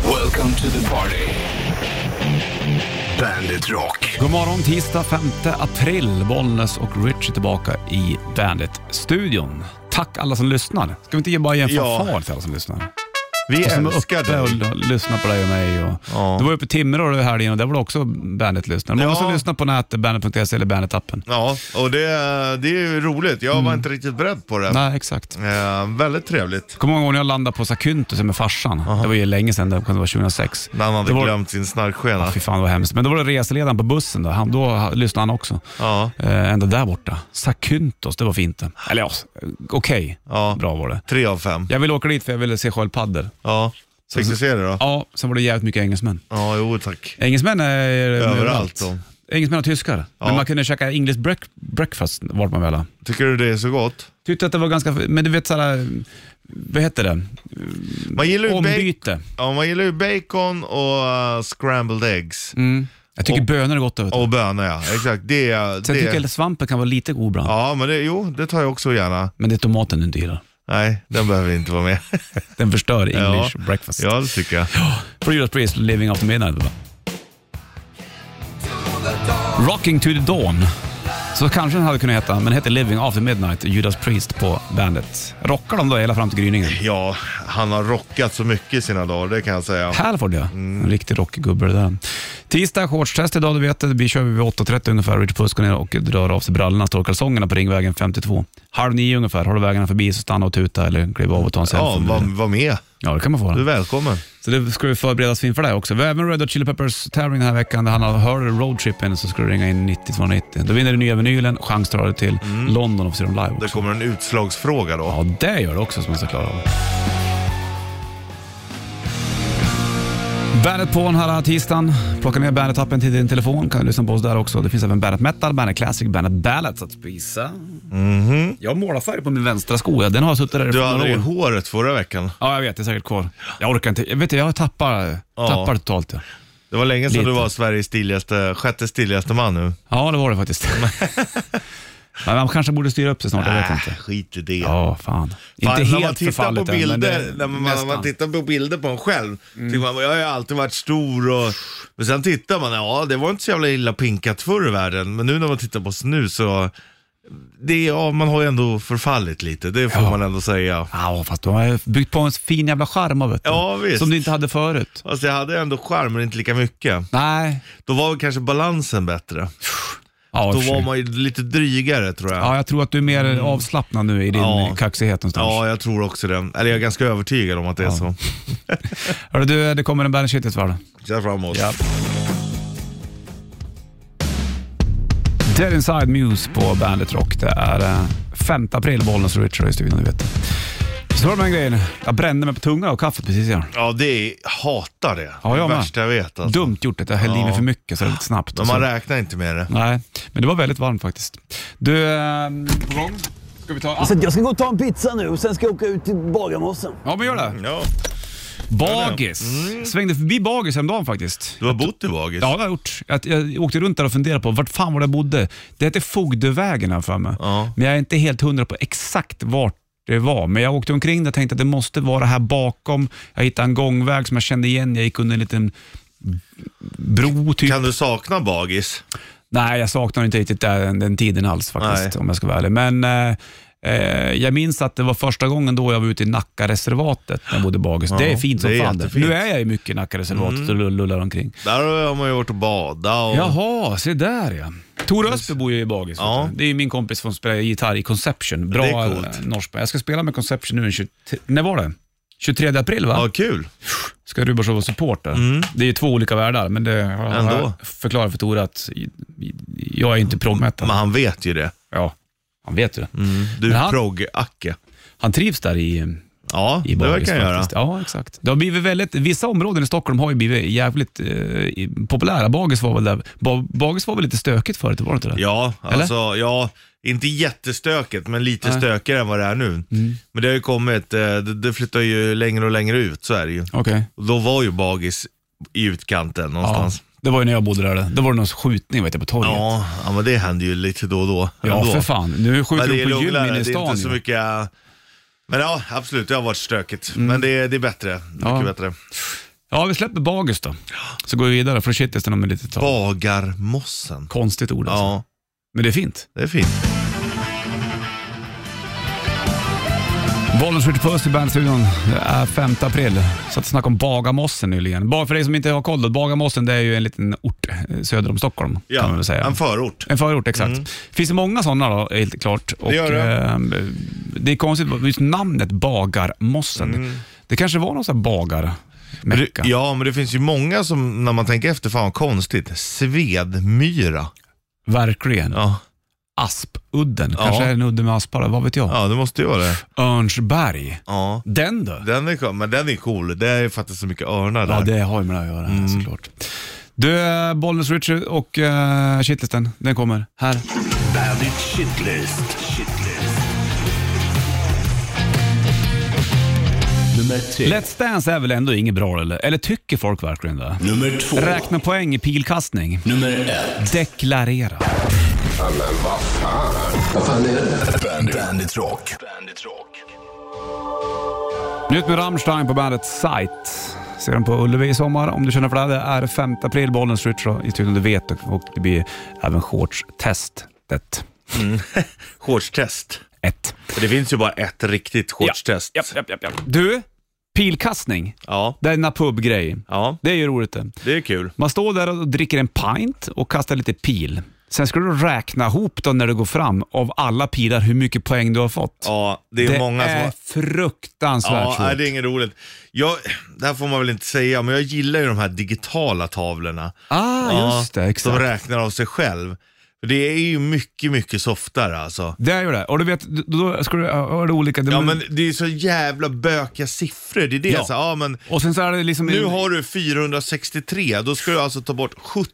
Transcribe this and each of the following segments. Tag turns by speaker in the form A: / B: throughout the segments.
A: Welcome to the party. Bandit Rock.
B: God morgon tisdag 5 april. Bollnäs och Rich är tillbaka i Bandit-studion. Tack alla som lyssnar. Ska vi inte bara ge en
C: Ja.
B: fanfar till alla som lyssnar?
C: Vi
B: Som är
C: älskar
B: uppe och
C: dig.
B: l- lyssnar på dig och mig. Och
C: Ja.
B: Du var uppe i Timrå i helgen och där var det också Bandit-lyssnare. Många
C: Ja.
B: som lyssnar på nätet, bandit.se eller Bandit-appen.
C: Ja, och det, det är ju roligt. Jag var inte riktigt beredd på det.
B: Mm. Nej, exakt.
C: Eh, väldigt trevligt.
B: Kommer ihåg när jag landade på Sakuntus med farsan. Det var ju länge sedan, det kan det vara 2006.
C: När han hade
B: Det var-
C: glömt sin snarkskena.
B: Fy fan vad hemskt. Men då var det reseledaren på bussen, då, han, då ha- lyssnade han också.
C: Ja.
B: Eh, ända där borta. Sakuntos, det var fint det. Eller ja, s- okej.
C: Ja.
B: Bra var det.
C: Tre av fem.
B: Jag ville åka dit för jag ville se sköldpaddor.
C: Ja. Fick du se det då?
B: Ja, sen var det jävligt mycket engelsmän.
C: Ja, jo tack.
B: Engelsmän är...
C: Överallt då.
B: Engelsmän och tyskar. Men
C: Ja.
B: man kunde käka English break, breakfast vart man ville.
C: Tycker du det är så gott?
B: Tyckte att det var ganska... Men du vet såhär... Vad heter det?
C: Man gillar ju, bacon,
B: Ombyte.
C: ja, man gillar ju bacon och eh, scrambled eggs.
B: Mm. Jag tycker bönor är gott. Vet. du.
C: Och bönor ja, exakt. Det, är-
B: Sen tycker jag
C: det,
B: att svampen kan vara lite god ibland.
C: ja, men det, jo, det tar jag också gärna.
B: Men det är tomaten du inte gillar.
C: Nej, den behöver inte vara med.
B: Den förstör English
C: Ja.
B: breakfast.
C: ja, det tycker jag.
B: For Judas Priest, Living After Midnight. va? Rocking to the Dawn. Så kanske den hade kunnat heta, men den hette Living After Midnight, Judas Priest på bandet. Rockar de då hela fram till gryningen?
C: Ja, han har rockat så mycket i sina dagar, det kan jag säga.
B: Halford ja, en riktig rockig gubbe det där. Tisdag, shortstest idag, du vet det. Vi kör vid 8.30 ungefär. Richard Puss går ner och drar av sig brallorna, står kalsongerna på Ringvägen 52. Halv nio ungefär, har du vägarna förbi så stanna och tuta eller kliv av och ta en selfie.
C: Ja,
B: om du
C: var,
B: vill.
C: var med.
B: ja, det kan man få.
C: Du är välkommen.
B: Så det ska vi förberedas inför det också. Vi har även Red Hot Chili Peppers tävling den här veckan. Där han har hör roadtrippen så ska du ringa in 9290. Då vinner du nya vinylen, chans att dra dig till London och se dem live
C: Mm. Det
B: också.
C: kommer en utslagsfråga då.
B: Ja, det gör det också som man ska klara av. Bandet på den här tisdagen. Plocka ner Bandet-appen till din telefon. Kan du lyssna på oss där också. Det finns även Bandet Metal, Bandet Classic, Bandet Ballads att spisa. Jag har målarfärg på min vänstra sko. Ja, Den har jag suttit där i
C: Mhm. Du
B: flera
C: hade ju
B: år.
C: håret förra veckan.
B: Ja, jag vet. Det är säkert kvar. Jag orkar inte. Jag vet du, jag tappar,
C: Ja.
B: tappar totalt. Ja.
C: Det var länge sedan
B: Lite.
C: du var Sveriges stiligaste, sjätte stiligaste man nu.
B: ja, det var det faktiskt. Men man kanske borde styra upp sig snart. Jag vet
C: Äh,
B: inte.
C: skit i det.
B: Ja, fan.
C: Fan,
B: inte
C: när man
B: helt
C: tittar på
B: förfallet än, men det-
C: bilder, när man, när man
B: nästan. Mm.
C: tittar på bilder på en själv, tycker man jag har ju alltid varit stor och... Men sen tittar man, ja det var inte så jävla illa pinkat förr i världen, men nu när man tittar på oss nu så... Det, är- ja, man har ju ändå förfallit lite, det får man ändå säga.
B: Ja, fast du har ju byggt på en fin jävla charm av det.
C: Ja, visst.
B: Som du inte hade förut.
C: Alltså jag hade ändå charm, men inte lika mycket.
B: Nej.
C: Då var väl kanske balansen bättre.
B: Ja, i och
C: Då
B: för sig.
C: var man ju lite drygare tror jag.
B: ja, jag tror att du är mer avslappnad nu i din
C: Ja.
B: kaxighet någonstans.
C: Ja, jag tror också det. Eller jag är ganska övertygad om att det är så.
B: Hörru du, det kommer en Bandit Shitlist va?
C: Kör framåt.
B: Dead Inside Muse på Bandit Rock. Det är eh, 5 april, Bollnäs och Richard i studion, du vet. Så var det med en grej. Jag brände mig på tungan och kaffet precis igen.
C: Ja, det är, jag hatar det.
B: Ja, jag
C: det
B: med.
C: värsta jag vet. Alltså.
B: Dumt gjort det, jag hällde i mig
C: Ja.
B: för mycket så det är lite snabbt.
C: Men man
B: Så-
C: räknar inte med det.
B: Nej, men det var väldigt varmt faktiskt. Du, eh, på gång? Ska vi ta...
D: Så att jag ska gå och ta en pizza nu och sen ska jag åka ut till Bagarmossen.
B: Ja, men gör det.
C: Ja.
B: Bagis. Svängde förbi Bagis häromdagen faktiskt.
C: Du har bott i Bagis?
B: Ja, det har jag gjort. Jag, jag åkte runt där och funderade på vart fan var det jag bodde. Det hette Fogdevägen här för mig.
C: Ja.
B: Men jag är inte helt hundra på exakt vart det var. Men jag åkte omkring där och tänkte att det måste vara här bakom. Jag hittade en gångväg som jag kände igen. Jag gick under en liten bro typ.
C: Kan du sakna Bagis?
B: Nej, jag saknar inte riktigt den, den tiden alls faktiskt,
C: Nej.
B: om jag ska vara ärlig. Men eh, eh, jag minns att det var första gången då jag var ute i Nackareservatet när jag bodde i Bagis. det är fint som
C: det är
B: fan. det.
C: jättefint. Mm.
B: Nu är jag ju mycket i Nackareservatet och lull- lullar omkring.
C: Där har man ju varit och bada och...
B: Jaha, se där ja. Tor Östby bor ju i Bagis. vet
C: Ja.
B: du. Det är ju min kompis som spelar gitarr i Conception. Bra
C: Det är coolt.
B: eh, norsk. Jag ska spela med Conception nu den 23... När var det? 23 april va?
C: Ja, kul.
B: ska Rubashov vara supporter. Det är ju två olika världar, men det
C: Ändå.
B: jag förklarar för Tore att jag är inte proggmätare.
C: Men han vet ju det.
B: Ja, han vet ju det.
C: Du
B: Men
C: han...
B: han-
C: progg-Acke.
B: Han trivs där i,
C: Ja,
B: i
C: det
B: Bagis
C: verkar han göra.
B: faktiskt. Ja, exakt. Det har blivit väldigt, vissa områden i Stockholm har ju blivit jävligt eh, i- populära. Bagis var väl där. Ba, bagis var väl lite stökigt förut, var det inte det?
C: Ja,
B: Eller?
C: alltså, ja, inte jättestökigt, men lite stökigare än vad det är nu.
B: Mm.
C: Men det har ju kommit, eh, det, det flyttar ju längre och längre ut, så är det ju.
B: Okej.
C: Och då var ju Bagis i utkanten
B: Ja,
C: någonstans.
B: det var ju när jag bodde där. Då var det någon skjutning vet jag, på torget. Ja,
C: Ja, ja men det händer ju lite då och då. ändå.
B: för fan. Nu skjuter
C: Men det
B: de
C: är
B: på gym
C: lugnare,
B: inne i
C: det är
B: stan.
C: inte så
B: ju.
C: mycket... Men ja, absolut, det har varit stökigt. Men det är, det är bättre. Mycket
B: Mm. Ja.
C: bättre.
B: Ja, vi släpper bagis då. Så går vi vidare från shitlisten om ett litet tag.
C: Bagarmossen.
B: Konstigt ord alltså.
C: Ja,
B: Men det är fint.
C: det är fint.
B: Bollen skjuter puss i bandstudion. Det är 5 april. Så att snacka om Bagarmossen nyligen. Bara för dig som inte har koll då. Bagarmossen det är ju en liten ort eh, söder om Stockholm kan man väl säga.
C: en förort.
B: En förort, exakt. finns det många sådana då, helt klart. Och,
C: gör det.
B: Eh, det är konstigt, just namnet Bagarmossen. Det kanske var någon sån här
C: Men det-
B: bagarmecka.
C: Mm. Ja, men det finns ju många som, när man tänker efter, fan vad konstigt. Svedmyra.
B: Verkligen.
C: Ja,
B: Aspudden,
C: Ja.
B: kanske är en udde med aspar, vad vet jag.
C: ja det måste ju vara det.
B: Örnsberg,
C: Ja.
B: den då?
C: Den är, cool, men den är cool. Det är ju faktiskt så mycket örnar där.
B: Ja, det har ju med det att göra
A: Mm.
B: såklart. Du, eh, Bollnäs Richard och uh, shitlisten, den kommer här.
A: Bandit Shitlist. Shitlist. Nummer tre.
B: Let's Dance är väl ändå inget bra eller? Eller tycker folk verkligen det?
A: Nummer två.
B: Räkna poäng i pilkastning.
A: Nummer ett.
B: Deklarera.
A: Bandit, Bandit Rock. Bandit Rock.
B: Nytt med Rammstein på bandet Sight. Ser dem på Ullevi i sommar om du känner för det. Det är 5 april, Bollnäs Richard i studion, du vet. Och det blir även shortstestet.
C: Shortstest.
B: Ett.
C: För Det finns ju bara ett riktigt shortstest.
B: Ja, ja, ja, ja. Du, pilkastning.
C: ja.
B: Denna pubgrej.
C: Ja,
B: Det är ju roligt det.
C: det är kul.
B: Man står där och dricker en pint och kastar lite pil. Sen ska du räkna ihop då när du går fram av alla pilar hur mycket poäng du har fått.
C: Ja, det är
B: det
C: många som...
B: är
C: har-
B: fruktansvärt
C: Ja,
B: svårt.
C: nej, det är inget roligt. Jag, det här får man väl inte säga, men jag gillar ju de här digitala tavlorna.
B: Ah,
C: Ja,
B: just det. Exakt.
C: Som räknar av sig själv. För Det är ju mycket, mycket softare alltså.
B: Det är ju det. Och du vet, då- då ska du ha det olika.
C: Ja, men det är så jävla bökiga siffror. Det är det.
B: Mm. Ja.
C: Så, ja, men
B: Och sen så är det liksom...
C: nu har du 463, då ska du alltså ta bort 17,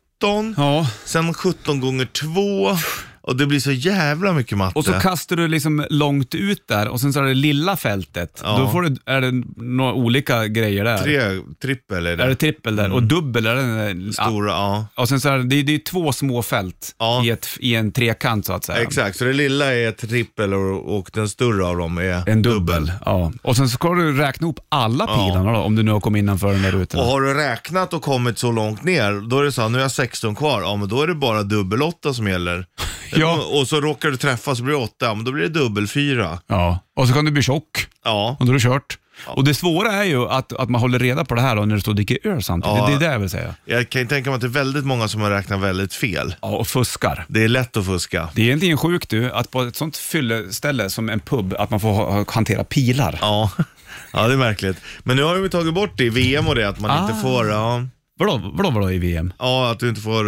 B: Ja.
C: sen 17 gånger 2 och det blir så jävla mycket matte.
B: Och så kastar du liksom långt ut där och sen så är det lilla fältet.
C: Ja.
B: Då får du, är det några olika grejer där.
C: Tre, trippel är det.
B: Är det trippel där? Och dubbel är den
C: Stora, ja.
B: Och sen så är det, det, det är två små fält
C: Ja.
B: i, ett, i en trekant så att säga.
C: Exakt, så det lilla är ett trippel och, och den större av dem är
B: En dubbel. Ja. Och sen så ska du räkna ihop alla pilarna då, om du nu har kommit innanför den där rutan.
C: Och har du räknat och kommit så långt ner, då är det så här, nu är jag 16 kvar, ja men då är det bara dubbel-åtta som gäller.
B: Ja.
C: Och så råkar du träffa så blir det åtta, ja, men då blir det dubbel-fyra.
B: Ja. Och så kan du bli tjock
C: Ja.
B: och då är det kört. Och det svåra är ju att, att man håller reda på det här då, när du står och dricker öl samtidigt.
C: Ja.
B: Det är det jag vill säga.
C: Jag kan ju tänka mig att det är väldigt många som har räknat väldigt fel.
B: Ja, och fuskar.
C: Det är lätt att fuska.
B: Det är egentligen sjukt du, att på ett sånt fylleställe som en pub, att man får ha, ha- hantera pilar.
C: Ja. ja, det är märkligt. Men nu har vi tagit bort det i VM och det, att man inte får, ja,
B: Vadå, vadå, vadå i VM?
C: ja, att du inte får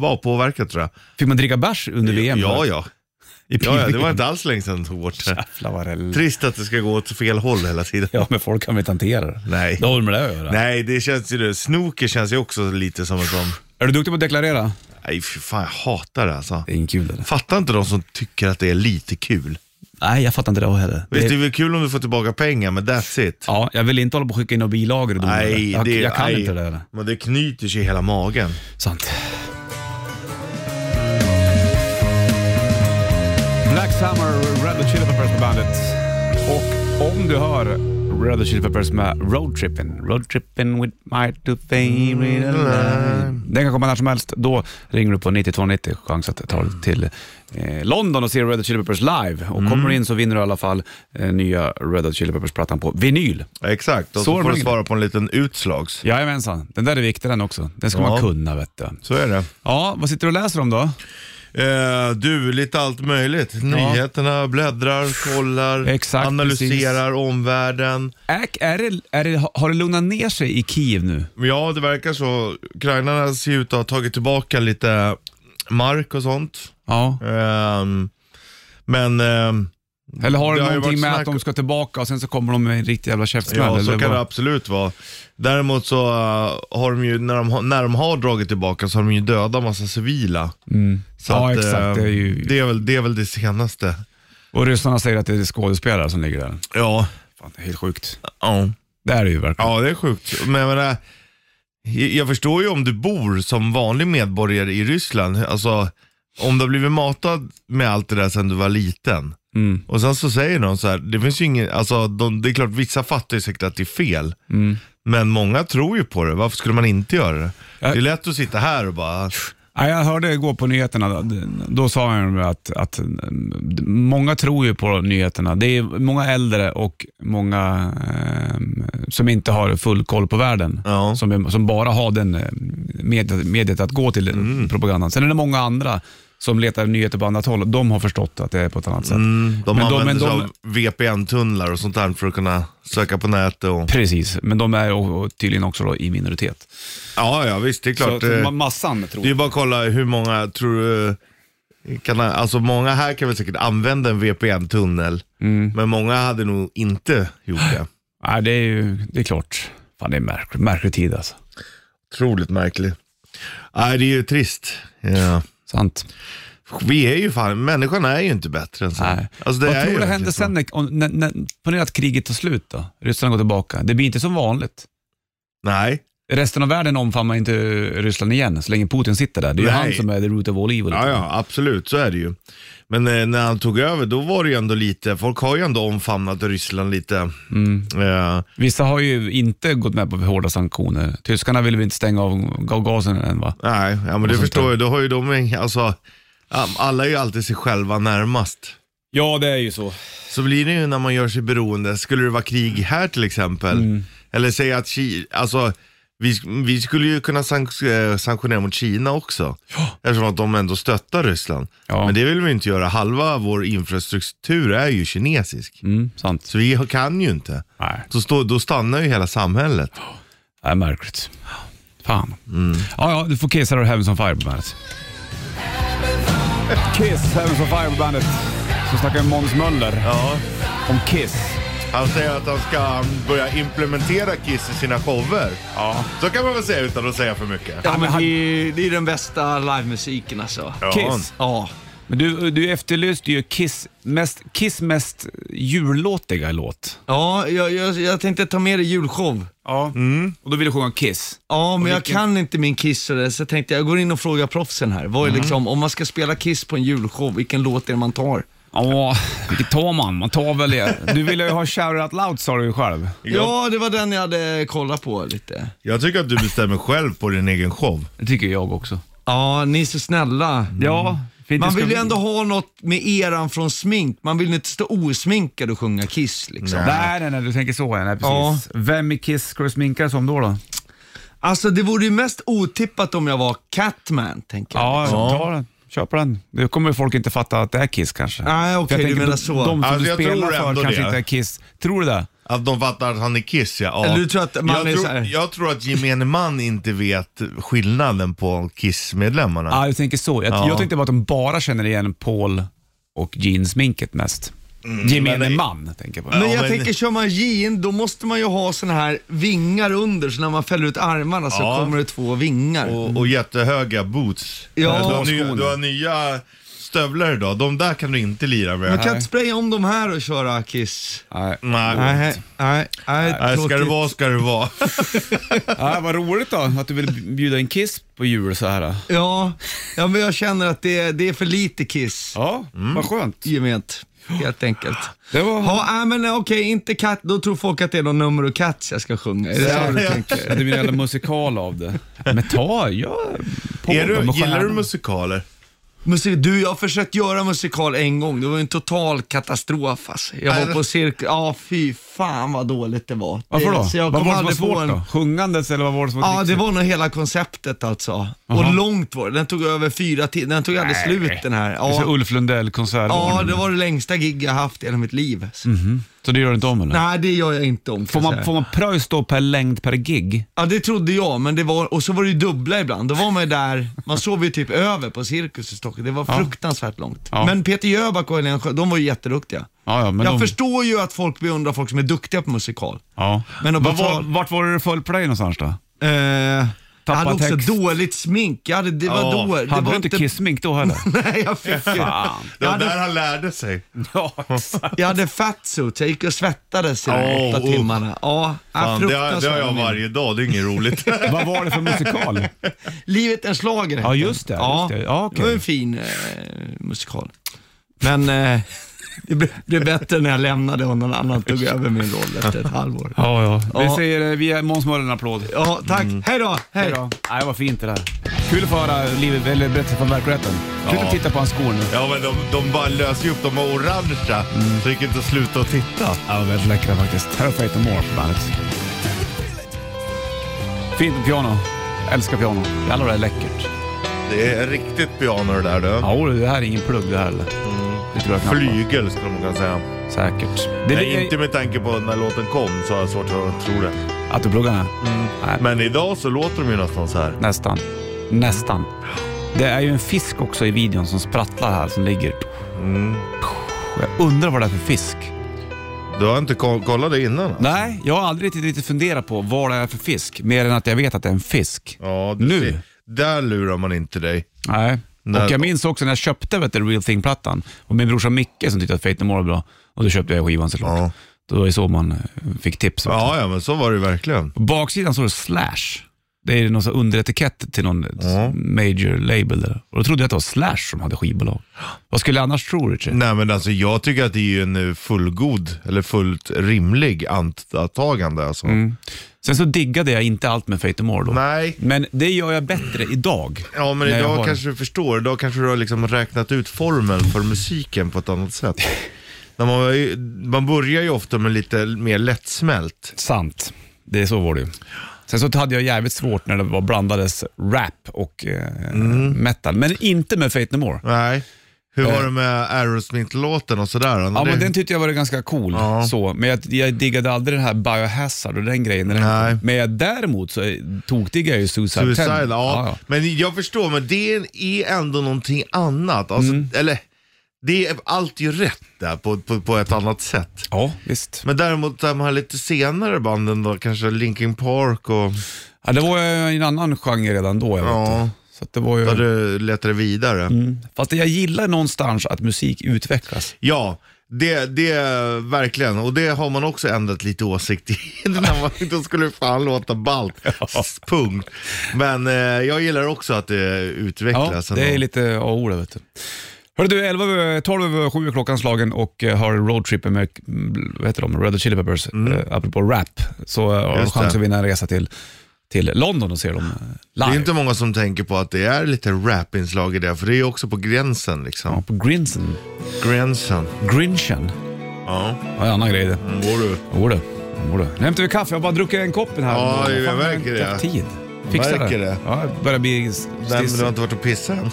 C: vara påverkad tror jag.
B: Fick man dricka bärs under VM?
C: Ja, ja.
B: I
C: Ja, ja, det var
B: pil-VM?
C: inte alls länge sedan du tog bort det.
B: Jävlar vad det
C: Trist att det ska gå åt fel håll hela tiden.
B: Ja, men folk kan väl inte hantera det?
C: Nej.
B: Det har väl med det att göra?
C: Nej, det känns ju det. Snooker känns ju också lite som en sån...
B: Är du duktig på att deklarera?
C: Nej, fy fan jag hatar det alltså.
B: Det är inte kul eller?
C: Fattar inte de som tycker att det är lite kul.
B: Nej, jag fattar inte det heller.
C: Visst, det är väl kul om du får tillbaka pengar, men that's it.
B: Ja, jag vill inte hålla på och skicka in några bilagor och donar det.
C: Nej,
B: jag,
C: det,
B: jag kan
C: nej.
B: inte det där.
C: Men det knyter sig i hela magen.
B: Sant. Black Summer, Red Hot Chili Peppers på bandet. Och om du hör Red Hot Chili Peppers med Road Trippin'. Road Trippin' with my two favorite alive. Den kan komma när som helst. Då ringer du på 9290. Chans att ta dig till eh, London och se Red Hot Chili Peppers live. Och kommer du in så vinner du i alla fall eh, nya Red Hot Chili Peppers-plattan på vinyl.
C: Ja, Exakt, och så,
B: Så är det
C: får du
B: med-
C: svara på en liten utslags.
B: Jajamensan, den där är viktig den också. Den ska
C: Ja.
B: man kunna vet du.
C: Så är det.
B: Ja, vad sitter du och läser om då?
C: Eh, du, lite allt möjligt. Nyheterna, bläddrar, kollar,
B: Exakt,
C: analyserar omvärlden.
B: Äk, är det, är det, har det lugnat ner sig i Kiev nu?
C: Men Ja, det verkar så. Ukrainarna ser ut att ha tagit tillbaka lite mark och sånt.
B: Ja.
C: Ehm, men ehm,
B: Eller har det,
C: Det har ju
B: någonting
C: varit
B: med
C: snack-
B: att de ska tillbaka och sen så kommer de med en riktig jävla käftsmäll?
C: ja,
B: eller
C: så kan
B: vad?
C: det absolut vara. Däremot så eh, har de ju, när de, har- när de har dragit tillbaka så har de ju dödat massa civila. Så
B: Mm. Ja, exakt,
C: eh,
B: det är ju-
C: det, är väl, det är väl det senaste.
B: Och ryssarna säger att det är skådespelare som ligger där.
C: Ja.
B: Fan, det är helt sjukt.
C: ja.
B: Det är det ju verkligen.
C: Ja, det är sjukt. Men jag menar, jag- jag förstår ju om du bor som vanlig medborgare i Ryssland. Alltså, om du har blivit matad med allt det där sedan du var liten.
B: Mm.
C: Och sen så säger de så här, det finns ju ingen, alltså de, det är klart vissa fattar ju säkert att det är fel. Men många tror ju på det. Varför skulle man inte göra det? Det
B: Ja.
C: är lätt att sitta här och bara...
B: Ja, jag hörde igår på nyheterna, då sa han ju att, att många tror ju på nyheterna. Det är många äldre och många eh, som inte har full koll på världen.
C: Ja.
B: Som, är- som bara har den eh, mediet, mediet att gå till eh,
C: Mm.
B: propagandan. Sen är det många andra som letar nyheter på annat håll. De har förstått att det är på ett annat sätt.
C: Mm, De
B: men
C: använder
B: men
C: sig av VPN-tunnlar och sånt där för att kunna söka på nätet. Och...
B: Precis, men de är o- o- tydligen också då i minoritet.
C: Ja, ja visst. Det är klart.
B: så,
C: eh,
B: ma- massan tror
C: Det är bara att kolla hur många, tror du, kan, alltså många här kan väl säkert använda en VPN-tunnel,
B: Mm.
C: men många hade nog inte gjort det.
B: Nej, det är ju det är klart. Fan, det är märklig, märklig tid alltså.
C: Otroligt märkligt. Nej, det är ju trist. Ja.
B: Sant.
C: Vi är ju fan, människan är ju inte bättre än så.
B: Nej.
C: Alltså, det
B: Vad
C: är ju
B: tror du
C: verkligen
B: händer
C: så.
B: sen? När, om- när, när, ponera att kriget tar slut då. Ryssland går tillbaka. Det blir inte som vanligt.
C: Nej,
B: Resten av världen omfamnar inte Ryssland igen så länge Putin sitter där. Det är ju
C: Nej.
B: han som är the root of all evil.
C: ja, ja, absolut så är det ju. Men eh, när han tog över, då var det ju ändå lite, folk har ju ändå omfamnat Ryssland lite.
B: Mm.
C: Eh,
B: Vissa har ju inte gått med på hårda sanktioner. Tyskarna vill väl inte stänga av av gasen än va?
C: nej, ja, men du
B: sånt
C: förstår
B: där.
C: ju, då har ju de, ing- alltså, ja, alla är ju alltid sig själva närmast.
B: Ja, det är ju så.
C: Så blir det ju när man gör sig beroende. Skulle det vara krig här till exempel,
B: Mm.
C: eller säga att Kina, alltså vi, vi skulle ju kunna sank- eh, sanktionera mot Kina också. Eftersom att de ändå stöttar Ryssland.
B: Ja.
C: Men det vill vi inte göra. Halva vår infrastruktur är ju kinesisk.
B: Mm, sant.
C: Så vi kan ju inte.
B: Nej.
C: Så stå, då stannar ju hela samhället.
B: Det är märkligt. Fan.
C: Mm.
B: Ja, ja, du får Kiss här och Heavens on Fire på bandet. Kiss, Heavens on Fire på bandet. Så snackar Måns Möller
C: Ja.
B: om Kiss.
C: Han säger att han ska börja implementera Kiss i sina shower.
B: Ja.
C: Så kan man väl säga utan att säga för mycket.
B: Ja,
E: Ja,
B: men
E: men
B: han-
E: det, är, det är den bästa livemusiken alltså.
C: Ja.
B: Kiss.
E: Ja.
B: Men du, du efterlyste ju Kiss mest, Kiss mest jullåtiga låt.
E: Ja, jag, jag, jag tänkte ta med dig julshow.
B: Ja. Och då vill du sjunga Kiss.
E: Ja, men jag
B: vilken-
E: kan inte min Kiss så där, så jag tänkte jag går in och frågar proffsen här. Vad är
B: Mm.
E: liksom, om man ska spela Kiss på en julshow, vilken låt är det man tar?
B: Ja, vilket tar man? Man tar väl det. Du ville ju ha Shout Out Loud sa du ju själv.
E: Ja, det var den jag hade kollat på lite.
C: Jag tycker att du bestämmer själv på din egen show.
B: Det tycker jag också.
E: Ja, ni är så snälla.
B: Ja. för inte
E: Man
B: ska
E: vill ju
B: vi-
E: ändå ha något med eran från smink. Man vill ju inte stå osminkad och sjunga Kiss liksom.
B: Nej, nej, nej, du tänker så. ja. Nej, precis. Vem i Kiss ska du sminka dig som då? då?
E: Alltså det vore ju mest otippat om jag var Catman, tänker jag.
B: Ja, ta den. Kör på den. Då kommer folk inte fatta att det är Kiss kanske.
E: Nej, okej,
B: För jag
E: du
B: tänker
E: menar
B: de-
E: så.
B: De som
C: Alltså,
B: du
C: jag
B: spelar
C: tror
B: för
C: ändå
B: kanske
C: det.
B: inte är Kiss. Tror du det?
C: Att de fattar att han är Kiss ja. ja.
E: Eller du tror att man
C: jag,
E: är
C: tror,
E: så här-
C: jag tror att gemene man inte vet skillnaden på Kiss-medlemmarna.
B: Ja, jag tänker så. Jag,
C: Ja.
B: jag tänkte bara att de bara känner igen Paul och Jean-sminket mest. Gemene
C: Mm. men det-
B: man, tänker jag på.
E: Men
C: Ja,
E: jag
C: men-
E: tänker, kör man jean, då måste man ju ha såna här vingar under, så när man fäller ut armarna så
C: Ja.
E: kommer det två vingar.
C: Och, och jättehöga boots.
E: Ja.
C: Du, har nya,
B: Skor.
C: du har nya stövlar idag, de där kan du inte lira med.
E: Man kan inte spraya om de här och köra Kiss.
B: Nej.
C: Nej. Nej.
E: Nej, nej, nej.
C: Nej, ska det
E: tråkigt.
C: vara ska det vara.
B: Ja, vad roligt då, att du vill bjuda in Kiss på jul så här.
E: Ja, ja, men jag känner att det, är- det är för lite Kiss
B: Ja,
C: Mm.
B: vad skönt.
E: gement, helt enkelt.
B: Det var...
E: Ja, nej, men nej, okej, inte katt. Då tror folk att det är någon nummer och katt jag ska sjunga. Är det så du tänker?
B: Ja, det blir en jävla musikal av det. Men ta, gör Paul
C: Är
B: då,
C: du,
B: med
C: gillar du
B: stjärnor.
C: musikaler?
E: Musik, du, jag har försökt göra musikal en gång. Det var ju en total katastrof alltså. Jag
C: Äh.
E: var på cirkus. Ja, fy fan vad dåligt det var.
B: Varför då?
E: Det, så jag
B: vad
E: kom
B: var det som var
E: aldrig på
B: svårt
E: en-
B: då? Sjungandes eller vad var det som var
E: Ja, det
B: trixigt?
E: var nog hela konceptet alltså. Och långt var det. Den tog över fyra timmar. Den tog aldrig slut den här.
B: Det är så
E: Ja.
B: Ulf Lundell-konsert.
E: ja, det var det längsta gig jag haft i hela mitt liv. Så-
B: Så det gör du inte om eller?
E: Nej, det gör jag inte om. kan
B: Mhm. Får
E: jag
B: man,
E: säga.
B: får man pröjs då per längd per gig?
E: Ja, det trodde jag, men det var, och så var det ju dubbla ibland. Då var man ju där, man sov ju typ över på Cirkus i Stockholm. Det var fruktansvärt långt.
B: Ja.
E: Men Peter Jöback och Helene Sjö, de var ju jätteduktiga.
B: Ja, ja, men
E: jag
B: de-
E: förstår ju att folk beundrar folk som är duktiga på musikal.
B: Ja.
E: Men att
B: Vad var,
E: betala-
B: vart var det föll på dig någonstans då?
E: Eh, jag hade också
B: text.
E: dåligt smink. Jag hade, det var
C: Ja,
E: då, det
B: Hade
E: var
B: du inte kissmink då heller?
E: Nej, jag fick ju.
C: Det
E: Jag
C: var
E: hade,
C: där han lärde sig.
B: ja, exakt.
E: jag hade fatsuit, jag gick och svettades i de
C: Åh,
E: åtta
C: usch.
E: timmarna. Ja, ja,
C: Fan, det, har, det har jag
E: fruktansvärt.
C: varje dag, det är inget roligt.
B: Vad var det för musikal?
E: Livet är en schlager
B: Ja, just det,
E: Ja,
B: just det. Ja, okej.
E: det var en fin eh, musikal. Men, eh, Det blev, blev bättre när jag lämnade och någon annan tog över min roll efter ett halvår.
B: Ja, Mm. ja. Vi
E: Ja.
B: säger, eh, vi ger Måns Möller en applåd.
E: Ja, tack. Hej då. Hej.
B: Hej då. Nej, vad fint det där. Kul att få höra livet, eller berättelser från verkligheten. Kul att titta på hans skor nu.
C: Ja men de, de bara löser ju upp, de var orangea. Så det gick inte att sluta att titta.
B: Ja, väldigt läckra faktiskt. Här har Faith No More på bandet. Fint piano. Älskar piano. Jävlar vad det är läckert.
C: Det är riktigt piano det där du.
B: Ja, och det här är ingen plugg det här eller? Det tror jag knappast.
C: Flygel skulle man kunna säga.
B: Säkert. Det
C: Nej,
B: ligger-
C: inte med tanke på när låten kom så har jag svårt att tro det.
B: Att du pluggar här? Nej,
C: Men idag så låter de ju nästan så här.
B: nästan. Nästan. Det är ju en fisk också i videon som sprattlar här, som ligger...
C: Mm.
B: Och Jag undrar vad det är för fisk.
C: Du har inte ko- kollat det innan? alltså?
B: Nej, jag har aldrig riktigt, riktigt funderat på vad det är för fisk, mer än att jag vet att det är en fisk.
C: Ja, du
B: Nu.
C: ser. Där lurar man inte dig.
B: Nej.
C: Nej.
B: Och jag minns också när jag köpte vet du, Real Thing-plattan och min brorsa Micke som tyckte att Fate No More var bra. Och då köpte jag skivan såklart.
C: Ja.
B: Då är det så man eh, fick tips. vet du.
C: Ja, ja men så var det ju verkligen.
B: På baksidan står det Slash. Det är någon sån underetikett till någon major label. Där. Och då trodde jag att det var Slash som hade skivbolag. Vad skulle jag annars tro Richard?
C: Nej men alltså jag tycker att det är ju en eh, fullgod, eller fullt rimlig antagande alltså.
B: Sen så diggade jag inte allt med Fate No More då.
C: Nej.
B: Men det gör jag bättre idag.
C: Ja men
B: När jag
C: idag
B: har-
C: kanske du förstår, idag kanske du har liksom räknat ut formeln för musiken på ett annat sätt. När man, var ju- man börjar ju ofta med lite mer lättsmält.
B: Sant. Det är så var det ju. Sen så hade jag jävligt svårt när det var blandades rap och eh,
C: Mm.
B: metal, men inte med Fate No More.
C: Nej. Hur var det med Aerosmith-låten och sådär?
B: Eh. Ja, men den tyckte jag var ganska cool. Så. Men jag, jag diggade aldrig den här Biohazard och den grejen. när den
C: Nej.
B: kom. Men jag, däremot så eh, tokdiggade jag ju Suicide,
C: Suicide, ja.
B: Ten. Ja, ja.
C: Men jag förstår, men det är ändå någonting annat. Alltså,
B: Mm.
C: Eller, det är allt ju rätt där på, på, på ett annat sätt.
B: ja, visst.
C: Men däremot de här lite senare banden då, kanske Linkin Park och
B: Ja, det var ju i en annan genre redan då. Jag vet
C: Ja.
B: inte. så att det var ju...
C: där du letade vidare.
B: Fast jag gillar någonstans att musik utvecklas.
C: Ja, det, det verkligen. Och det har man också ändrat lite åsikt i. När man, då skulle det fan låta ballt. Punkt. Men eh, jag gillar också att det
B: Ja,
C: utvecklas.
B: det är
C: ändå.
B: lite A-ord vet du. Hörru du, 11, över- 12 över 7 är klockan slagen och eh, har roadtrippen med mm, vad heter de? Red Hot Chili Peppers, eh, apropå rap. Så eh, har du
C: Mm. Just
B: chans
C: det.
B: att vinna en resa till, till London och se dem eh,
C: Det
B: live.
C: är inte många som tänker på att det är lite rapinslag i det, för det är ju också på gränsen liksom.
B: Ja, på Grinsen.
C: Gränsen.
B: Grinchen.
C: Ja,
B: Ja, en annan grej det.
C: går du.
B: Jo du. Jo du. Nu hämtar vi kaffe. Jag har bara druckit en kopp den här.
C: Ja,
B: Fan,
C: jag
B: jag har
C: märker
B: inte haft
C: det.
B: tid. Fixa
C: Märker
B: det.
C: det.
B: Ja, jag börjar bli
C: Nej, men
B: stiss.
C: du har inte varit och pissat än.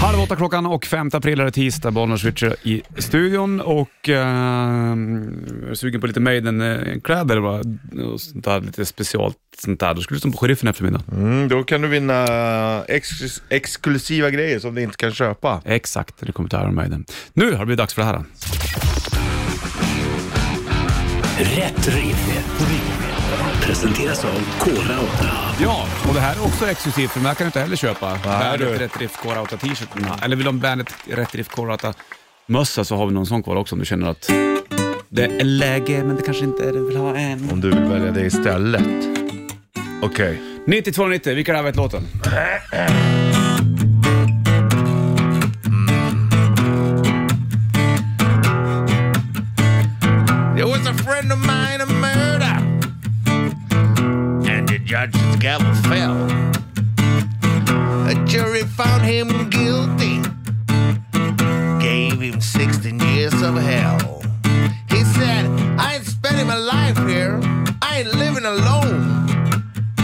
B: Halv åtta klockan och 5 april är det tisdag. Bollnäs Switcher i studion och eh, är du sugen på lite Maiden-kläder va? och sånt där, lite specialt sånt där. Då skulle du stå på sheriffen i eftermiddag.
C: Mm, då kan du vinna exklus- exklusiva grejer som du inte kan köpa.
B: Exakt, det kommer till Iron Maiden. Nu har det blivit dags för det här.
A: Rätt riff. Presenteras av Kora 8.
B: Ja, och det här är också exklusivt för den här kan du inte heller köpa. Bandet
C: du.
B: Rätt Riff Core Outta t-shirten. Eller vill du ha en Bandet Rätt Riff Core Outta mössa så har vi någon sån kvar också om du känner att det är läge men det kanske inte är det du vill ha än.
C: Om du vill välja det istället. Okej.
B: 9290, vilka har varit låten?
C: There was a friend of mine, a murder. And the judge's gavel fell. A jury found him guilty. Gave him 16 years of hell. He said, I ain't spending my life here. I ain't living alone.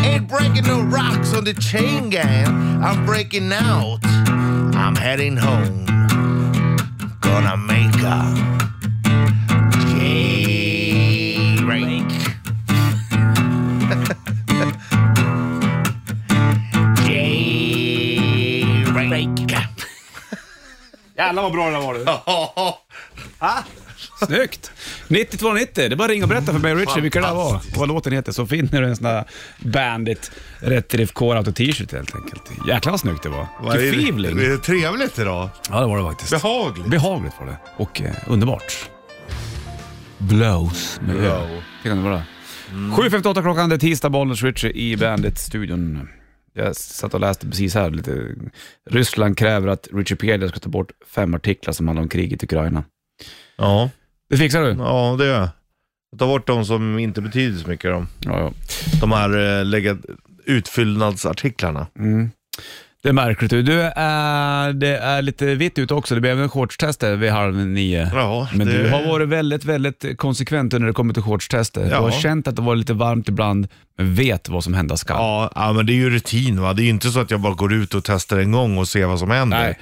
C: Ain't breaking no rocks on the chain gang. I'm breaking out. I'm heading home. Gonna make a J-Rake. J-Rake.
B: Jävlar vad bra det var du.
C: Ja,
B: Snyggt! 9290, det är bara att ringa och berätta för mig och Richie vilka det där var. Vad låten heter så finner du en sån där Bandit Rätt Riff Core Outta t-shirt helt enkelt. Jäklar vad snyggt det var.
C: vad är
B: Vilken
C: det
B: feeling!
C: det är trevligt idag.
B: Ja det var det faktiskt.
C: Behagligt.
B: Behagligt var det och eh, underbart. Blows med Ö.
C: Blow.
B: Det kan det vara. 7.58 klockan, det är tisdag, Bollnäs Ritchie i Bandit-studion. Jag satt och läste precis här lite. Ryssland kräver att Wikipedia ska ta bort fem artiklar som handlar om kriget i Ukraina.
C: Ja,
B: Det fixar du?
C: ja det gör jag. Ta bort de som inte betyder så mycket. De,
B: Ja, ja.
C: de här eh, lägga, utfyllnadsartiklarna.
B: Mm. Det är märkligt. Du, Du, eh, det är lite vitt ute också. Det blev en shortstester vid halv nio.
C: Ja,
B: Men
C: det-
B: du har varit väldigt, väldigt konsekvent när det kommer till shortstester. Du
C: Ja.
B: har känt att det var lite varmt ibland, men vet vad som hända skall.
C: Ja, ja, men det är ju rutin va. Det är ju inte så att jag bara går ut och testar en gång och ser vad som händer.
B: Nej.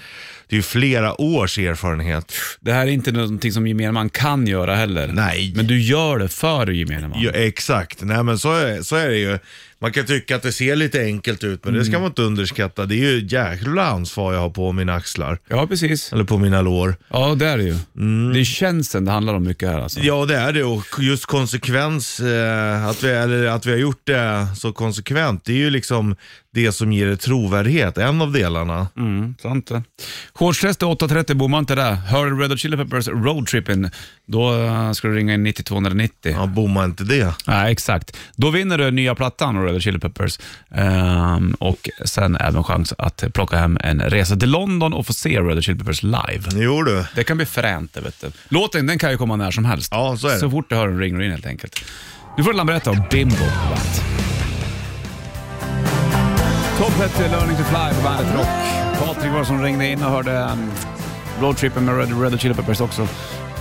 C: Det är ju flera års erfarenhet.
B: Det här är inte någonting som gemene man kan göra heller.
C: Nej.
B: Men du gör det för gemene man.
C: Ja, exakt, nej men så är, så är det ju. Man kan tycka att det ser lite enkelt ut, men det
B: Mm.
C: ska man inte underskatta. Det är ju ett jäkla ansvar jag har på mina axlar,
B: Ja, precis. Mm.
C: eller på mina lår.
B: Ja, det är det ju. Det är tjänsten det handlar om mycket här alltså.
C: Ja, det är det och just konsekvens, eh, att, vi, eller att vi har gjort det så konsekvent, det är ju liksom det som ger det trovärdighet, en av delarna.
B: Mm, sant det. Shortstest är 8.30, bommar inte det. Hör du Red Hot Chili Peppers Roadtrippin, då eh, ska du ringa in 90290.
C: Ja, bomma inte det.
B: Nej, exakt. Då vinner du nya plattan av Red Hot Chili Peppers. Ehm, och sen även chans att plocka hem en resa till London och få se Red Hot Chili Peppers live.
C: Jo du.
B: Det kan bli fränt det vet du. Låten den kan ju komma när som helst.
C: Ja, så är det.
B: Så fort du hör den ringer du in helt enkelt. Nu får du Lambretta och Bimbo på bandet. Top Petty, Learning to Fly på bandet Rock. Patrik var det som ringde in och hörde um, Roadtrippen med Red, Red Hot Chili Peppers också.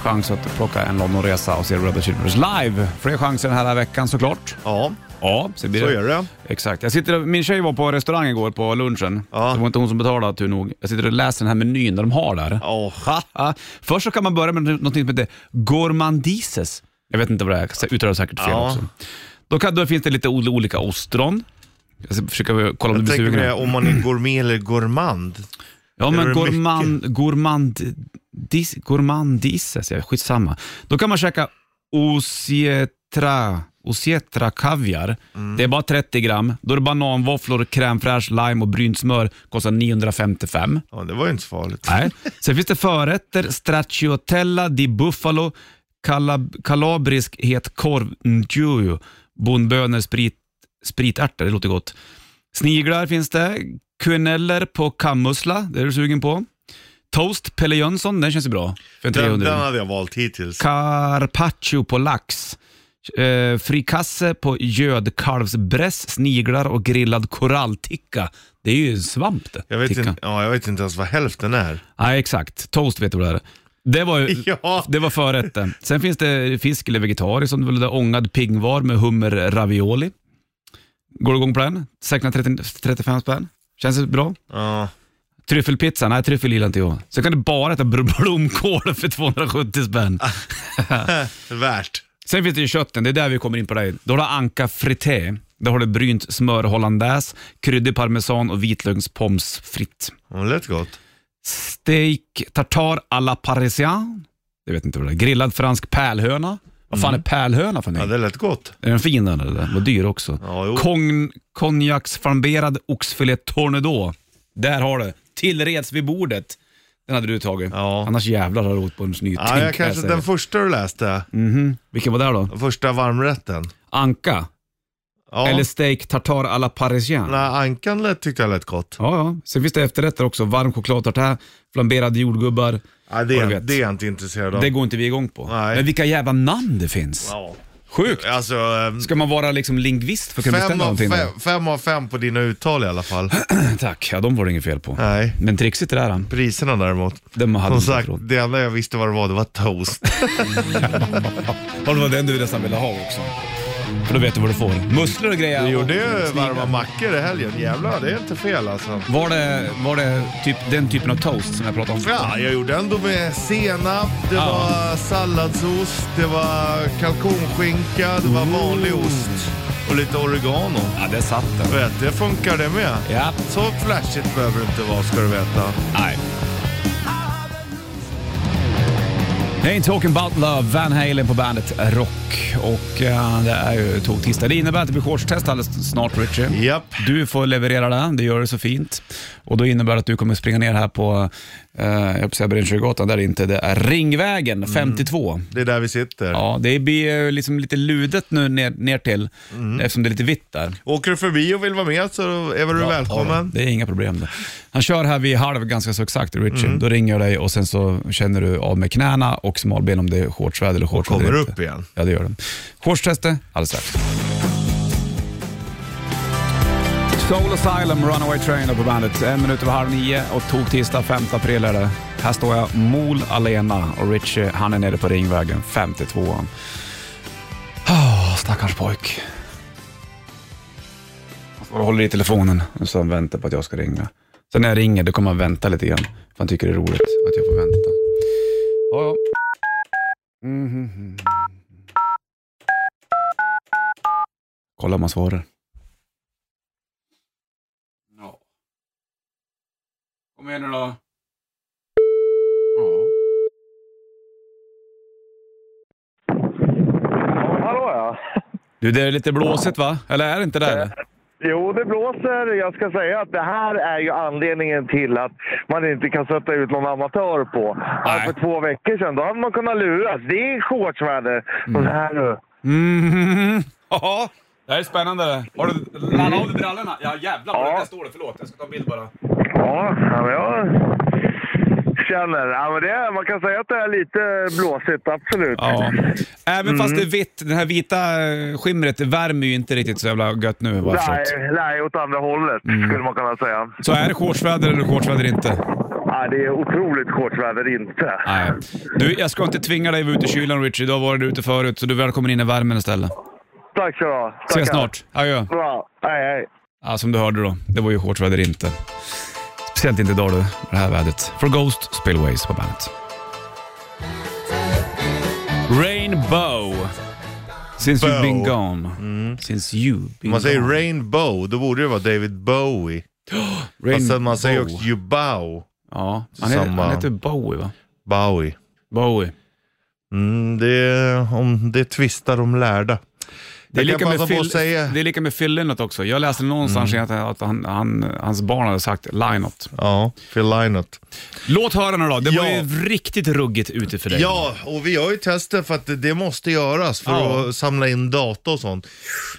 B: Chans att plocka en Londonresa och se Red Hot Chili Peppers live. Fler chanser den här veckan såklart.
C: Ja,
B: Ja, så, blir
C: så är det.
B: Exakt. Jag sitter, min tjej var på restaurang igår på lunchen.
C: Ja.
B: Det var inte hon som betalade tur nog. Jag sitter och läser den här menyn de har där.
C: Ja.
B: Ja, först så kan man börja med någonting som heter gourmandises. Jag vet inte vad det är, jag uttalar säkert fel
C: Ja.
B: också. Då, kan, då finns det lite ol- olika ostron. Jag ska försöka kolla om
C: Jag
B: du blir
C: tänker
B: sugen.
C: mig om man är gourmet eller gourmand.
B: Ja,
C: det
B: men
C: är
B: gourmand, gourmand, dis, gourmandises, ja, skitsamma. Då kan man käka osietra, osietra kaviar.
C: Mm.
B: Det är bara 30 gram. Då är det bananvåfflor, crème fraîche, lime och brynt smör. Kostar 955.
C: Ja, det var ju inte så farligt.
B: Nej. Sen finns det förrätter, stracciatella di buffalo, kalab- kalabrisk het korv, ndjuju, bondbönor, sprit, spritärtor, det låter gott. Sniglar finns det, kuneller på kammusla, det är du sugen på. Toast, Pelle Jönsson, den känns ju bra. För
C: Den,
B: 300.
C: den hade jag valt hittills.
B: Carpaccio på lax. Eh, frikasse på gödkalvsbräss, sniglar och grillad korallticka. Det är ju en svamp det.
C: Jag vet,
B: ticka.
C: inte, ja, jag vet inte ens vad hälften är.
B: Nej, exakt. Toast vet du vad det är. Det var, ju-
C: Ja.
B: det var förrätten. Sen finns det fisk eller vegetariskt, som det väl är ångad pingvar med hummer ravioli. Går du igång på den? Säkrar 30 35 spänn. Känns det bra?
C: Ja.
B: Tryffelpizza? Nej, tryffel gillar inte jag. Sen kan du bara äta bl- blomkål för 270 spänn.
C: Värt.
B: Sen finns det ju kötten, det är där vi kommer in på dig. Då har du anka frité. Då har du brynt smör hollandaise, kryddig parmesan och vitlökspommes fritt.
C: Ja, Det lät gott.
B: Steak tartar à la parisienne. Jag vet inte vad det är. Grillad fransk pärlhöna. Vad fan är pärlhöna för
C: Mm. Ja,
B: någonting?
C: det lät gott.
B: Är den fin den eller? Vad dyr också.
C: Ja, jo.
B: Kon- Konjaksflamberad oxfilé tornedå. Där har du. Tillreds vid bordet. Den hade du tagit.
C: Ja.
B: Annars jävlar har du åkt på en snyting.
C: Ja, jag kanske, den första du läste,
B: Mm. Vilken var det då?
C: den första varmrätten.
B: Anka?
C: Ja.
B: Eller steak tartar à la parisienne?
C: Nej, ankan lät, tyckte jag lät gott.
B: Ja, ja. Sen finns det efterrätter också. Varm chokladtartare, flamberade jordgubbar.
C: Nej, det,
B: Ja, du
C: är,
B: vet.
C: det är jag inte intresserad av.
B: Det går inte vi igång på.
C: Nej.
B: Men vilka jävla namn det finns.
C: ja.
B: Sjukt.
C: Alltså, ehm,
B: Ska man vara liksom lingvist för att kunna
C: fem,
B: bestämma
C: av
B: någonting?
C: fem, fem av fem på dina uttal i alla fall.
B: där? Tack, ja de var det inget fel på.
C: Nej.
B: Men trixigt det där. han.
C: Priserna däremot.
B: Den man hade inte
C: Som sagt,
B: råd.
C: det enda jag visste vad det var, det var toast.
B: Ja, det var den du nästan ville ha också. För då vet du vad du får. Musslor och grejer.
C: Vi
B: och-
C: gjorde ju
B: och
C: varma mackor i helgen. Jävlar, det är inte fel alltså.
B: Var det, var det typ den typen av toast som jag pratade om?
C: Ja, jag gjorde ändå med senap, det
B: Ja.
C: var salladsost, det var kalkonskinka, det var vanlig ost och lite oregano.
B: Ja, där satt den.
C: Vet, det funkar det med.
B: Ja.
C: Så flashigt behöver det inte vara ska du veta.
B: Nej. Ain't talking about love, Van Halen på bandet Rock. Och eh, det är ju tog-tisdag. Det innebär att det blir shortstest alldeles snart, Richie.
C: Japp.
B: Du får leverera det, det gör du så fint. Och då innebär det att du kommer springa ner här på, eh, jag höll på att säga Brunnsjögatan, där inte, det är Ringvägen 52.
C: Det är där vi sitter.
B: Ja, det blir eh, liksom lite ludet nu ner, ner till eftersom det är lite vitt där.
C: Åker du förbi och vill vara med så är väl du välkommen.
B: Det är inga problem. Det. Han kör här vid halv ganska så exakt, Richard. Då ringer jag dig och sen så känner du av med knäna och smalben om det är shortsväder eller shortsväder.
C: kommer
B: inte.
C: upp igen.
B: Ja, det gör det. Shortstestet alldeles strax. Soul Asylum, Runaway Train där på bandet. En minut över halv nio och tog tisdag 5 april är det. Här står jag, Mol Alena och Richie, han är nere på Ringvägen 52an. Oh, stackars pojk. Han står och håller i telefonen och så han väntar på att jag ska ringa. Sen när jag ringer då kommer han vänta lite grann. För han tycker det är roligt att jag får vänta. Ja, ja. Mhm. Kolla om han svarar. Ja. Kom igen nu då.
F: Hallå ja.
B: Du, det är lite blåsigt va? Eller är det inte det? eller?
F: Jo, det blåser. Jag ska säga att det här är ju anledningen till att man inte kan sätta ut någon amatör på. Alltså,
B: Nej.
F: För två veckor sedan, då hade man kunnat luras. Det är shortsväder.
B: Mm.
F: Men här eh, nu.
B: Mhm. Jaha, det här är spännande det. Har du laddat av dig brallorna? Ja jävlar vad
F: Ja.
B: det där står det. Förlåt, jag ska ta en bild bara.
F: Ja, ja, men jag känner. Ja, men det, är- man kan säga att det är lite blåsigt, absolut.
B: Ja. Även fast
F: Mm.
B: det är vitt, det här vita eh, skimret värmer ju inte riktigt så jävla gött nu vad jag har förstått.
F: Nej, nej, åt andra hållet
B: Mm.
F: skulle man kunna säga.
B: Så är det shortsväder eller shortsväder inte?
F: Ja, det är otroligt shortsväder inte.
B: Nej. Du, jag ska inte tvinga dig ut i kylan Richie. Du har varit ute förut, så du är välkommen in i värmen istället.
F: Tack så du ha.
B: Ses
F: Tackar.
B: snart. Adjö.
F: Bra. Hej, hej.
B: Ja, som du hörde då, det var ju shortsväder inte. Speciellt inte idag du, med det här vädret. For Ghost Spillways på bandet. Rainbow. Since you've been
C: Bow.
B: gone. Since you
C: Om
B: been
C: man säger
B: gone.
C: Rainbow, då borde det vara David Bowie. Fast sen man säger också ju Bow.
B: Ja, han heter,
C: Samma.
B: han heter Bowie va?
C: Bowie.
B: Bowie.
C: Mm, det, om, det tvistar de lärda.
B: Det är,
C: Jag
B: lika
C: kan
B: med
C: passa på att
B: Phil,
C: säga... Mm.
B: det är lika med Phil Lynott också. Jag läste någonstans egentligen att han, han, hans barn hade sagt Lynott.
C: Ja, Phil Lynott.
B: Låt höra nu då. Det var
C: Ja.
B: ju riktigt ruggigt ute för dig.
C: Ja, och vi gör ju tester för att det- det måste göras för
B: Ja.
C: att samla in data och sånt.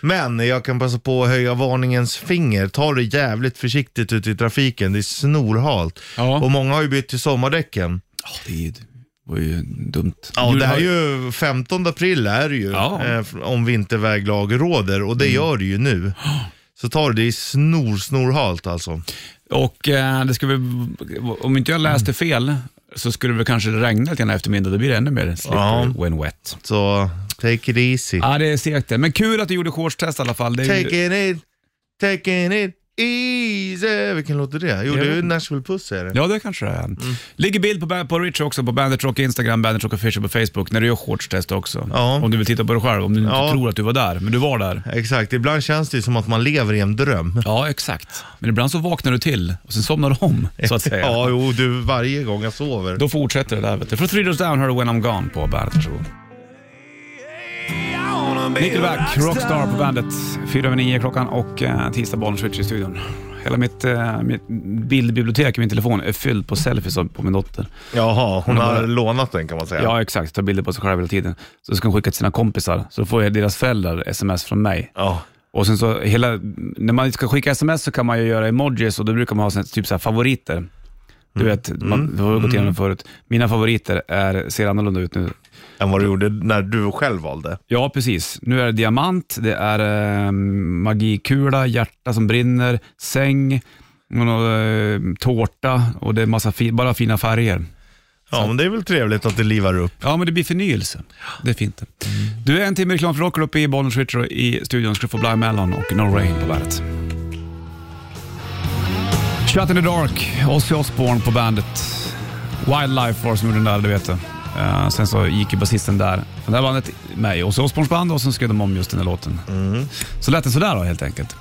C: Men jag kan passa på att höja varningens finger. Ta det jävligt försiktigt ute i trafiken. Det är snorhalt.
B: Ja.
C: Och många har ju bytt till sommardäcken.
B: Ja, Det är ju- var ju dumt.
C: Ja,
B: Jul-
C: det är ju 15 april är det ju
B: Ja. Mm.
C: eh, om vinterväglag råder och det gör det ju nu. Så tar det, det är snor, snorhalt alltså.
B: Och eh, det skulle, om inte jag
C: Mm.
B: läste fel så skulle det väl kanske regna lite grann i eftermiddag. Då blir det ännu mer slippery
C: Ja.
B: when wet.
C: Så take it easy.
B: Ja, det är segt det. Men kul att du gjorde shortstest i alla fall. Ah, Det är ju-
C: Taking it, taking it easy. Vilken låt är det? Jo,
B: Jag
C: det är
B: vet
C: ju
B: inte.
C: Nashville Puss är det.
B: Ja, det kanske det är. Ligger bild på, ba- på Rich också på Bandit Rock Instagram, Bandit Rock Official på Facebook när du gör shortstest också.
C: Ja.
B: Om du vill titta på dig själv, om du inte
C: Ja.
B: tror att du var där, men du var där.
C: Exakt, ibland känns det ju som att man lever i en dröm.
B: Ja, exakt. Men ibland så vaknar du till och sen somnar du om, så att säga.
C: Ja, jo, du, varje gång jag sover.
B: Då fortsätter det där vet du. Från Three Doors Down hör du When I'm Gone på bandet. Nickelback, Rockstar på bandet. Fyra över nio klockan och eh, tisdag Bollnäs i studion. Hela mitt, eh, mitt bildbibliotek i min telefon är fyllt på selfies av- på min dotter.
C: Jaha, hon
B: har
C: har lånat den kan man säga.
B: Ja, exakt. Tar bilder på sig själv hela tiden. Så ska hon skicka till sina kompisar, så får jag deras föräldrar sms från mig.
C: Ja.
B: Och sen så hela, när man ska skicka sms så kan man ju göra emojis och då brukar man ha sån- typ så här favoriter. Du vet, man, vi har ju gått igenom det förut. Mina favoriter är, ser annorlunda ut nu.
C: Än vad du gjorde när du själv valde.
B: Ja, precis. Nu är det diamant, det är eh, magikula, hjärta som brinner, säng, och någon, eh, tårta och det är massa fi- bara fina färger.
C: Ja, men det är väl trevligt att det livar upp.
B: Ja, men det blir förnyelse. Det är fint. Du är en timme reklam för Rocker uppe i Bollnäs Ritcher i studion. Ska du få Blind Melon och No Rain på bandet. Shut in the Dark, Ozzy Osbourne på bandet. Wildlife var som gjorde den där, det vet du. Eh, sen så gick ju basisten där, från det här bandet, med i Ozzy Osbournes band och sen skrev de om just den här låten.
C: Mhm.
B: Så lät det sådär då helt enkelt.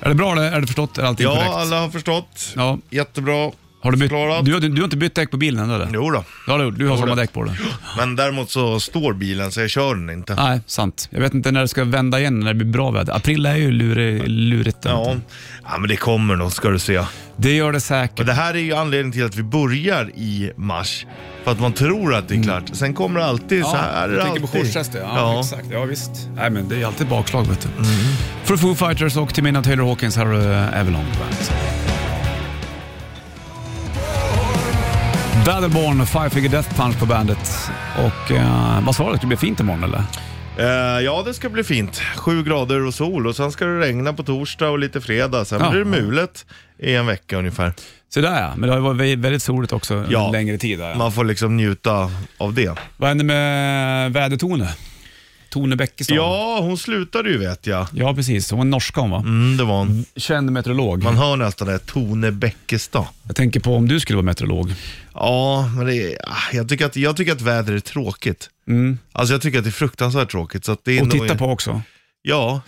B: Är det bra eller är det förstått? Är allting
C: Ja,
B: korrekt?
C: alla har förstått.
B: Ja.
C: Jättebra.
B: Har du, bytt,
C: Klarat.
B: du, har- du har inte bytt däck på bilen ännu eller?
C: Jo då.
B: Ja, du, du har samma
C: det.
B: däck på den.
C: Men däremot så står bilen så jag kör den inte.
B: Nej, sant. Jag vet inte när det ska vända igen, när det blir bra väder. April är ju lurig, lurigt.
C: Ja. ja, men det kommer nog ska du se.
B: Det gör det
C: Och
B: säkert.
C: det här är ju anledningen till att vi börjar i mars. För att man tror att det är klart. Sen kommer det alltid så här. är det
B: jag Mm. tänker på
C: alltid.
B: Dorchester. Ja, exakt. Ja, visst. Nej, men det är alltid bakslag, vet du.
C: Mm.
B: För Foo Fighters och till mina Taylor Hawkins här har du Avalon på bandet. Battleborn, Five Figure Death Punch på bandet. Och eh, vad sa du? Det blir fint imorgon eller?
C: Eh, ja, det ska bli fint. Sju grader och sol och sen ska det regna på torsdag och lite fredag. Sen
B: Ja.
C: blir det mulet i en vecka ungefär.
B: Så där ja, men det har ju varit vä- väldigt soligt också en
C: Ja.
B: längre tid. Där, ja.
C: Man får liksom njuta av det.
B: Vad händer med vädertone? Tone Bäckestad?
C: Ja, hon slutade ju vet jag.
B: ja, precis. Hon är norska hon va?
C: Mm, det var hon.
B: Känd meteorolog.
C: Man hör nästan det, Tone Bäckestad.
B: Jag tänker på om du skulle vara meteorolog.
C: Ja, men det är, ah, jag, tycker att, jag tycker att väder är tråkigt. Alltså jag tycker att det är fruktansvärt tråkigt. Så att det är
B: Mm. Och
C: nog-
B: titta på också.
C: Ja,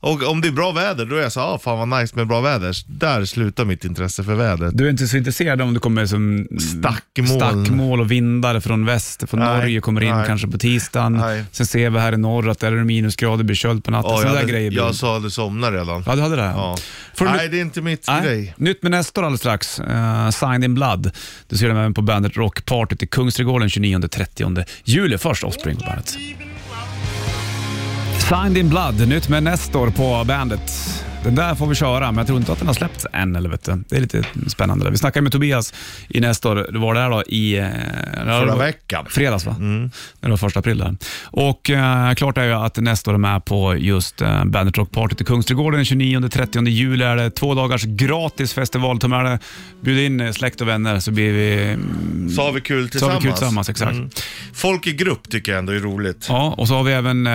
C: och om det är bra väder då är jag så ah, fan vad nice med bra väder. Där slutar mitt intresse för vädret.
B: Du är inte så intresserad om det kommer som
C: Stackmoln.
B: stackmål och vindar från väst, från
C: Nej,
B: Norge kommer in
C: nej.
B: kanske på tisdagen.
C: Nej.
B: Sen ser vi här i norr att där är det minusgrader, blir köld på natten.
C: Ja, jag,
B: Sådana där
C: hade,
B: grejer. blir
C: jag
B: det.
C: sa att du somnade redan.
B: Ja, du hade det? här.
C: Ja.
B: Får du-
C: Nej, det är inte mitt
B: Nej.
C: grej.
B: Nytt med nästa år alldeles strax, eh, Signed in Blood. Du ser dem även på bandet Rockpartyt i Kungsträdgården 29-30 juli. Först Offspring på bandet. Signed in Blood, nytt med Nestor på bandet. Den där får vi köra, men jag tror inte att den har släppts än. Eller vet du. Det är lite spännande. där. Vi snackade med Tobias i Nestor, det var där då i... eh,
C: Förra veckan. Mm.
B: Fredags va? När det var första april där. Och eh, klart är ju att Nestor är med på just eh, Bandet Rockpartyt i Kungsträdgården 29-30 juli. Är det två dagars gratis festival. Ta med dig, bjud in eh, släkt och vänner så blir vi... mm,
C: Så har vi kul
B: Så har vi
C: tillsammans. Mm.
B: kul tillsammans, exakt.
C: Folk i grupp tycker jag ändå är roligt.
B: Ja, och så har vi även eh,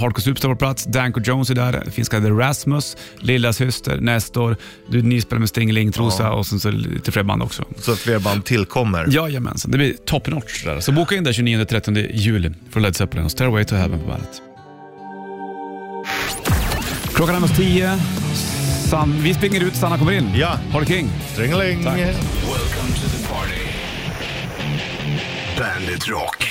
B: Hardcore Superstar på plats. Danko Jones är där, finska The Rasmus, Lilla Syster, Nestor, du nyspelar med Stingeling-trosa och sen så lite fler band också.
C: Så att fler band tillkommer.
B: Jajamensan, det blir top notch där. Så boka in där 29-30 juli för Led Zeppelin och Stairway to Heaven på bandet. Klockan närmast tio. San, vi springer ut, Sanna kommer in.
C: Ja.
B: Ha det king.
C: Stringeling.
B: Tack.
A: Welcome to the party. Bandit Rock.